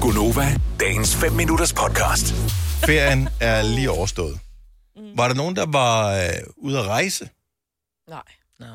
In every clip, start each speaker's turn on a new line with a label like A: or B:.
A: Gunova, dagens 5 minutters podcast.
B: Ferien er lige overstået. Var der nogen, der var øh, ude at rejse?
C: Nej,
D: Nej.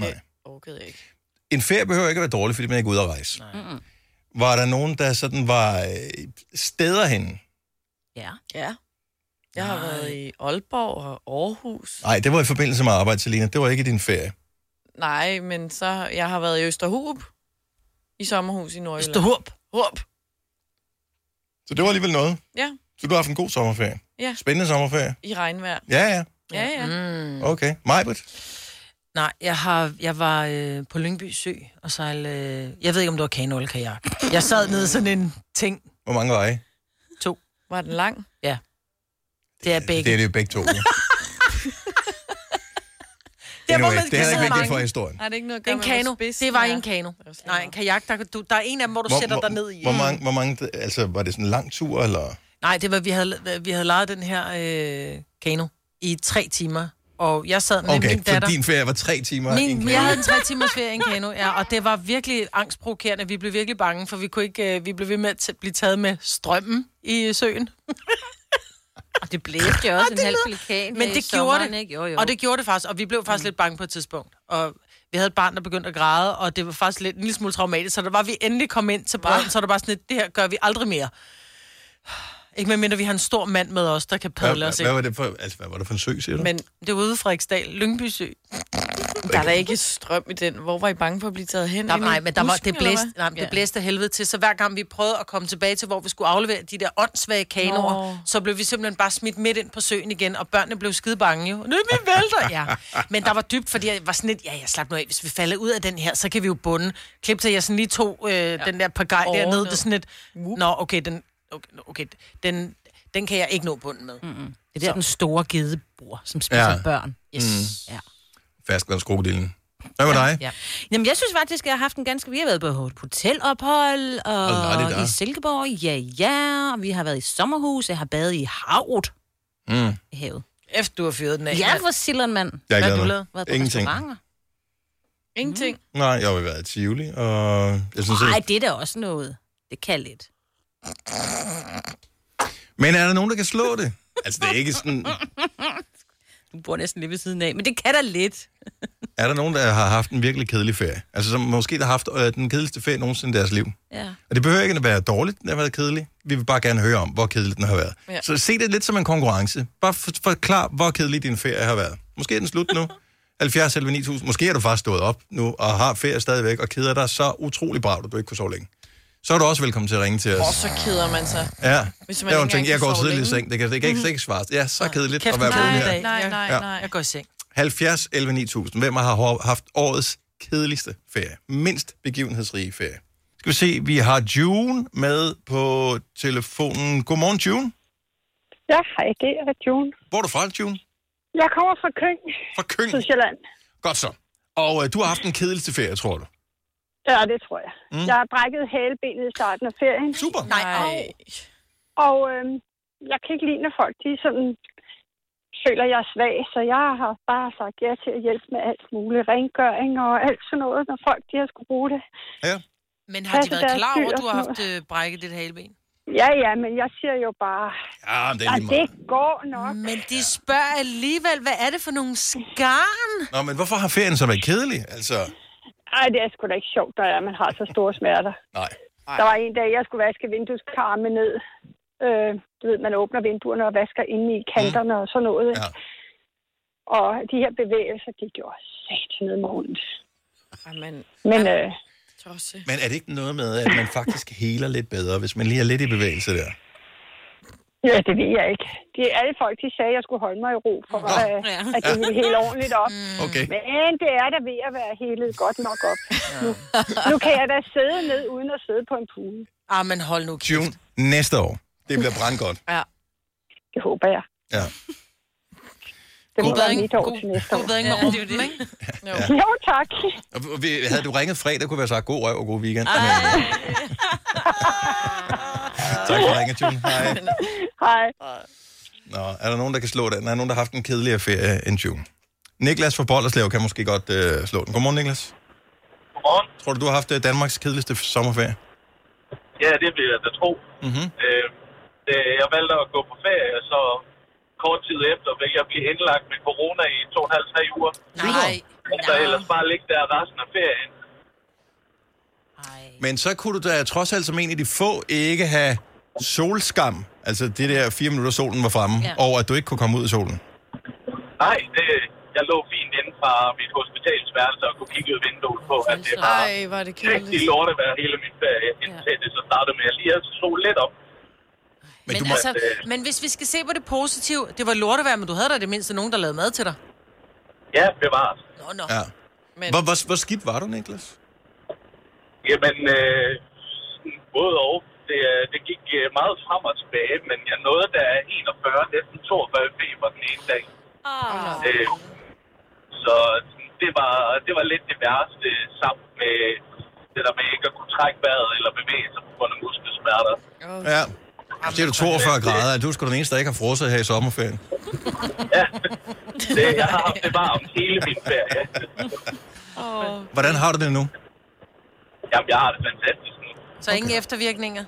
B: Nej.
C: orkede jeg ikke.
B: En ferie behøver ikke at være dårlig, fordi man ikke er ude at rejse.
D: Nej.
B: Var der nogen, der sådan var øh, steder henne?
D: Ja.
C: Ja. Jeg har
D: Nej.
C: været i Aalborg og Aarhus.
B: Nej, det var i forbindelse med arbejde, Selina. Det var ikke i din ferie.
C: Nej, men så jeg har været i Østerhub i sommerhus i Nordjylland.
D: Storp.
C: Hub.
B: Så det var alligevel noget.
C: Ja,
B: Så du har haft en god sommerferie.
C: Ja.
B: Spændende sommerferie.
C: i regnvejr.
B: Ja, ja.
C: Ja, ja. Mm.
D: Mm.
B: Okay. Majbert?
D: Nej, jeg, har, jeg var øh, på Lyngby Sø og sejlede... Øh, jeg ved ikke, om det var kano eller kajak. Jeg sad nede i sådan en ting.
B: Hvor mange var I?
C: Var den lang?
D: Det er begge.
B: Det er det jo begge to. ja.
D: Der, hvor
B: Anyway,
D: man
B: det er
D: kan
B: heller
D: sidde
B: ikke vigtigt for
D: mange.
B: historien.
C: Har det ikke noget at gøre
D: En
C: med, hvor
D: kano.
C: spidsen
D: Det var
C: er?
D: en kano.
C: var slet
D: Nej, en kajak. Der, kan du, der er en af dem, hvor du
B: Hvor,
D: sætter
B: hvor,
D: dig ned i. øh.
B: hvor, mange, hvor mange, altså, var det sådan en lang tur, eller?
D: Nej, det var, vi havde, vi havde lejet den her øh, kano i tre timer. Og jeg sad med
B: Okay,
D: min
B: så
D: datter.
B: din ferie var tre timer. i en
D: Min,
B: kano.
D: jeg havde en tre timers ferie i en kano, ja, og det var virkelig angstprovokerende. Vi blev virkelig bange, for vi, kunne ikke, øh, vi blev ved med at t- blive taget med strømmen i øh, søen.
E: Og det blæste jo også en halv pelikan
D: Men
E: her
D: det
E: i
D: gjorde
E: sommeren,
D: det.
E: Ikke? Jo, jo.
D: Og det gjorde det faktisk, og vi blev faktisk mm. lidt bange på et tidspunkt. Og vi havde et barn, der begyndte at græde, og det var faktisk lidt, en lille smule traumatisk. Så der var vi endelig kom ind til brønden, så var det bare sådan lidt, det her gør vi aldrig mere. Ikke medmindre vi har en stor mand med os, der kan
B: Hvad,
D: padle
B: hvad,
D: os.
B: hvad,
D: Ikke?
B: var det for, altså, hvad var det for en sø, siger du?
C: Men
D: Det var ude i Frederiksdal, Lyngby Sø.
C: der er da ikke strøm i den. Hvor var I bange for at blive taget hen?
D: Der,
C: Ind i
D: nej, men der var,
C: busken,
D: det,
C: eller
D: blæste,
C: hvad?
D: nej, men det blæste af helvede til, så hver gang vi prøvede at komme tilbage til, hvor vi skulle aflevere de der åndssvage kanoer,
C: Nå.
D: så blev vi simpelthen bare smidt midt ind på søen igen, og børnene blev skide bange jo. Nu er vi vælter, ja. Men der var dybt, fordi jeg var sådan lidt, ja, jeg slap nu af, hvis vi falder ud af den her, så kan vi jo bunde. Klip til, jeg sådan lige tog øh, ja. den der par gej
C: Åh,
D: dernede,
C: ned.
D: det er sådan lidt, nå, okay, den, okay, okay den, den kan jeg ikke nå bunden med. Mm.
E: det er der, den store gede bor, som spiser
B: Ja.
E: ja. børn. Yes. Mm. Ja.
B: Ferskvandskrokodillen. Hvad med dig?
E: Ja. Jamen, jeg synes faktisk, at jeg har haft en ganske... Vi har været på et hotelophold og,
B: Og lolly der.
E: i Silkeborg. Ja, ja. Og vi har været i sommerhus. Jeg har badet i havet.
B: Mm.
E: I havet.
D: Efter du har fyret den af.
E: Ja, for Sillermand. mand.
B: Jeg
D: Hvad
B: har
D: har du
B: ikke lavet
D: lavet?
E: Været på
B: Ingenting.
E: restauranter.
C: Ingenting.
B: Nej, jeg har jo været i Tivoli, og jeg synes
E: Nej,
B: ikke.
E: det er da også noget. Det kan lidt.
B: Men er der nogen, der kan slå det? Altså, det er ikke sådan...
E: Du bor næsten lige ved siden af, men det kan da lidt.
B: Er der nogen, der har haft en virkelig kedelig ferie? Altså, som måske har haft øh, den kedeligste ferie nogensinde i deres liv.
E: Ja.
B: Og det behøver ikke at være dårligt, den har været kedelig. Vi vil bare gerne høre om, hvor kedelig den har været. Ja.
C: Ja.
B: Så se det lidt som en konkurrence. Bare for, forklar, hvor kedelig din ferie har været. Måske er den slut nu. 70 eller 9000. Måske er du faktisk stået op nu og har ferie stadigvæk og keder dig så utrolig bravt, at du ikke kunne sove længe. Så er du også velkommen til at ringe til os.
C: Og så keder man sig.
B: Ja,
C: Hvis
B: Hvis
C: man
B: man der er jo en
C: ikke
B: ting,
C: engang
B: jeg
C: kan
B: går
C: sove
B: tidligt i
C: længe.
B: seng, det kan, det kan ikke, det kan ikke svare. Ja, så kedeligt
D: Kæft,
B: at være
D: nej,
B: vågen
D: i dag.
B: her.
C: Nej, nej,
B: Ja.
C: nej.
D: Jeg går i seng.
B: 70 11 9000. Hvem har ho- haft årets kedeligste ferie? Mindst begivenhedsrige ferie. Skal vi se, vi har June med på telefonen. Godmorgen, June.
F: Ja, hej, det er June.
B: Hvor er du fra, June?
F: Jeg kommer fra Køng,
B: Fra Køng.
F: Sydsjælland.
B: Godt så. Og øh, du har haft den kedeligste ferie, tror du.
F: Ja, det tror jeg. Mm. Jeg har brækket halebenet i starten af ferien,
B: Super.
D: Nej, au.
F: og øhm, jeg kan ikke lide, når folk de sådan føler, jeg er svag, så jeg har bare sagt ja til at hjælpe med alt muligt. Rengøring og alt sådan noget, når folk de har skulle bruge det.
D: Men har de
F: Passe
D: været
F: deres
D: klar
F: dyr
D: over, at
F: og
D: du har
F: sådan
D: haft øh, brækket dit haleben?
F: Ja, ja, men jeg siger jo bare,
B: Ja, det er
F: at
B: lige
F: det
B: meget.
F: går nok.
D: Men de spørger alligevel, hvad er det for nogle skarn?
B: Nå, men hvorfor har ferien så været kedelig? Altså,
F: Ej, det er sgu da ikke sjovt, når jeg- man har så store smerter.
B: nej.
F: Der var en dag, jeg skulle vaske vindueskarme ned. Øh, du ved, man åbner vinduerne og vasker inde i kanterne og sådan noget.
B: Ja.
F: Ja. Og de her bevægelser, de gjorde sat ned med ondt.
C: Jamen,
F: Men øh,
C: tosse.
B: Men er det ikke noget med, at man faktisk heler lidt bedre, hvis man lige er lidt i bevægelse der?
F: ja, det ved jeg ikke. De, alle folk, de sagde, at jeg skulle holde mig i ro for,
B: Nå. Mm.
F: øh, at det ville helt ordentligt op.
B: Okay.
F: Men det er da ved at være helet godt nok op. Nu, nu kan jeg da sidde ned uden at sidde på en pude.
D: Ah, men hold nu kæft.
B: June, næste år. Det bliver brandgodt.
F: Det håber jeg.
B: Ja.
F: Det må
B: God
F: være
D: bedring.
F: mit år
D: God-
F: til næste
D: God
F: år.
D: bedring med rumpen, ikke?
F: Jo, tak.
B: Og vi- Havde du ringet fredag, kunne vi have sagt god røv og god weekend. Men... øh, tak for ringen, June. Hej.
F: Hej.
B: Nå, er der nogen, der kan slå den? Er der nogen, der har haft en kedeligere ferie end June? Niklas fra Bollerslev kan måske godt øh, slå den. Godmorgen, Niklas.
G: Godmorgen.
B: Tror du, du har haft øh, Danmarks kedeligste f- sommerferie?
G: Ja, det vil jeg da tro.
B: Mhm.
G: Øh, øh, jeg valgte at gå på ferie, og så kort tid efter vil jeg blive indlagt med corona i to og en halv, tre uger.
E: Nej.
G: Og så ellers bare ligge der resten af ferien.
E: Nej.
B: Men så kunne du da trods alt som en af de få ikke have solskam. Altså det der fire minutter solen var fremme, ja.
E: Ja.
B: og at du ikke kunne komme ud i solen.
G: Nej, det, jeg lå fint inde fra mit hospitalsværelse og kunne kigge ud af vinduet på, at det var
C: Ej, hvor er det
G: rigtig
C: kedeligt.
G: lort at være hele min ferie, indtil det så startede med, at jeg lige havde solet lidt op.
B: Men,
D: Men,
B: du
D: men,
B: må...
D: altså, men hvis vi skal se på det positive, det var lort at være, men du havde da det mindste nogen, der lavede mad til dig.
G: Ja, bevares.
D: Nå, nå.
B: Ja.
C: Men
B: Hvor, hvor, hvor skidt var du, Niklas?
G: Jamen, øh, sådan både og. Det, øh, det gik øh, meget frem og tilbage, men jeg nåede der 41, næsten 42 feber den ene dag.
E: Ah.
G: Øh, så sådan, det var, det var lidt det værste, sammen med det der med ikke at kunne trække vejret eller bevæge sig på grund af muskelsmerter.
B: Ja. Det er du 42 grader, og du er sgu den eneste, der ikke har frosset her i sommerferien.
G: Det, jeg har haft det varmt hele min ferie.
C: åh,
B: Hvordan har du det nu?
G: Jamen, jeg har det fantastisk nu.
D: Så ingen eftervirkninger.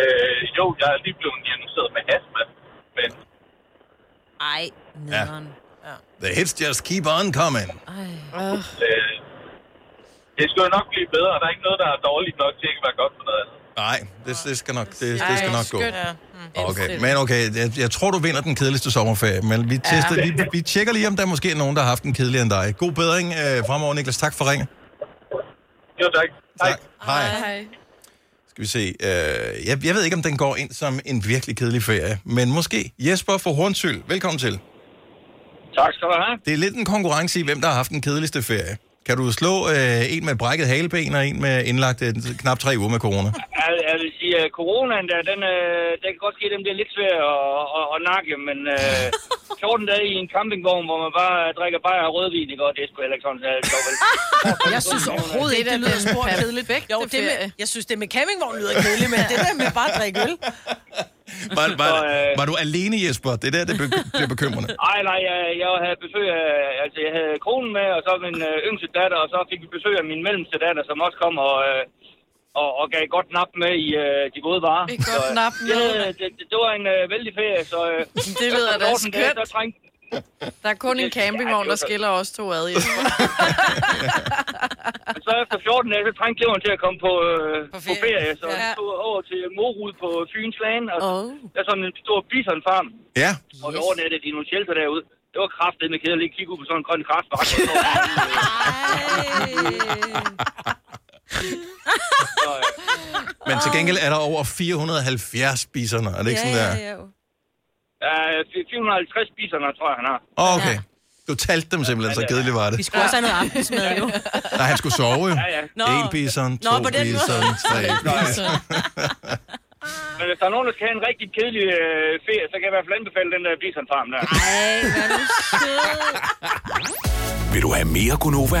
G: Øh, jo, jeg er lige blevet diagnosticeret med astma, men
E: Ej, nederen.
B: The hits just keep on coming.
E: Ej.
C: øh,
G: øh, det skal jo nok blive bedre. Der er ikke noget, der er dårligt nok til ikke at være godt for noget andet.
B: Nej, det, det skal nok, det, det
C: Ej,
B: skal nok gå.
C: skønt.
D: Ja.
B: Okay,
C: Indstil.
B: men okay, jeg, jeg tror, du vinder den kedeligste sommerferie, men vi, tester, ja. vi, vi tjekker lige, om der måske er nogen, der har haft den kedeligere end dig. God bedring øh, fremover, Niklas. Tak for ringe.
G: Jo, tak. Hej.
B: Hej.
C: hej.
B: Skal vi se. Øh, jeg, jeg ved ikke, om den går ind som en virkelig kedelig ferie, men måske. Jesper fra Hornsyl, velkommen til.
G: Tak skal du have.
B: Det er lidt en konkurrence i, hvem der har haft den kedeligste ferie. Kan du slå øh, en med brækket haleben og en med indlagt øh, knap tre uger med corona?
G: Jeg- Jeg vil sige, at coronaen der, den, øh, den kan godt ske, at den bliver lidt svær at, at, at nakke, men øh, 14 dage i en campingvogn, hvor man bare drikker bare og rødvin, det går, det er sgu heller ikke sådan, så er det sjovt, vel?
D: Jeg synes overhovedet ikke, det lyder spor kedeligt. Jo, det med, jeg synes, det med campingvogn lyder kedeligt, men det der med bare at drikke øl.
B: Var, var, var du alene, Jesper? Det er der, det be- bliver bekymrende.
G: Ej, nej, jeg, jeg havde besøg af, altså jeg havde konen med, og så min øh, yngste datter, og så fik vi besøg af min mellemste datter, som også kom og, øh, og, og gav et godt nap med i øh, de gode varer.
C: Et godt
G: Så, øh,
C: nap med.
G: Det, det, det, det var en øh, vældig ferie, så øh,
C: Det lyder da
G: 14 dage, der
C: skønt.
G: trængte
C: Der er kun en campingvogn, der skiller os to ad. Jesper.
G: Men så efter 14 dage, så trængte leveren til at komme på, øh, på, ferie. på ferie. Så
D: Ja.
G: ja. tog jeg over til Morud på Fyns Land, og
D: Åh.
G: oh. der er sådan en stor bisonfarm.
B: Ja,
G: Og yes. overnattede de nogle shelter derude. Det var kraftigt med kedeligt at kigge ud på sådan en grøn kraftbakke. så, øh,
B: men til gengæld er der over 470 spiserne. Er det ikke sådan der?
E: ja.
G: der er 450 biserne, tror jeg, han har.
B: Åh, okay. Du talte dem simpelthen, så kedeligt var
E: Vi
B: det.
E: skulle også have noget aftensmad, jo.
B: Nej, han skulle sove jo.
G: Ja, ja.
E: Nå.
B: En bison,
E: Nå,
B: to
E: på den måde.
B: bison, tre bison.
G: Men hvis der er nogen, der skal have en rigtig kedelig øh, ferie, så kan jeg i hvert fald anbefale den der bisonfarm der.
E: Ej, hvor er du sød.
A: Vil du have mere Gunova?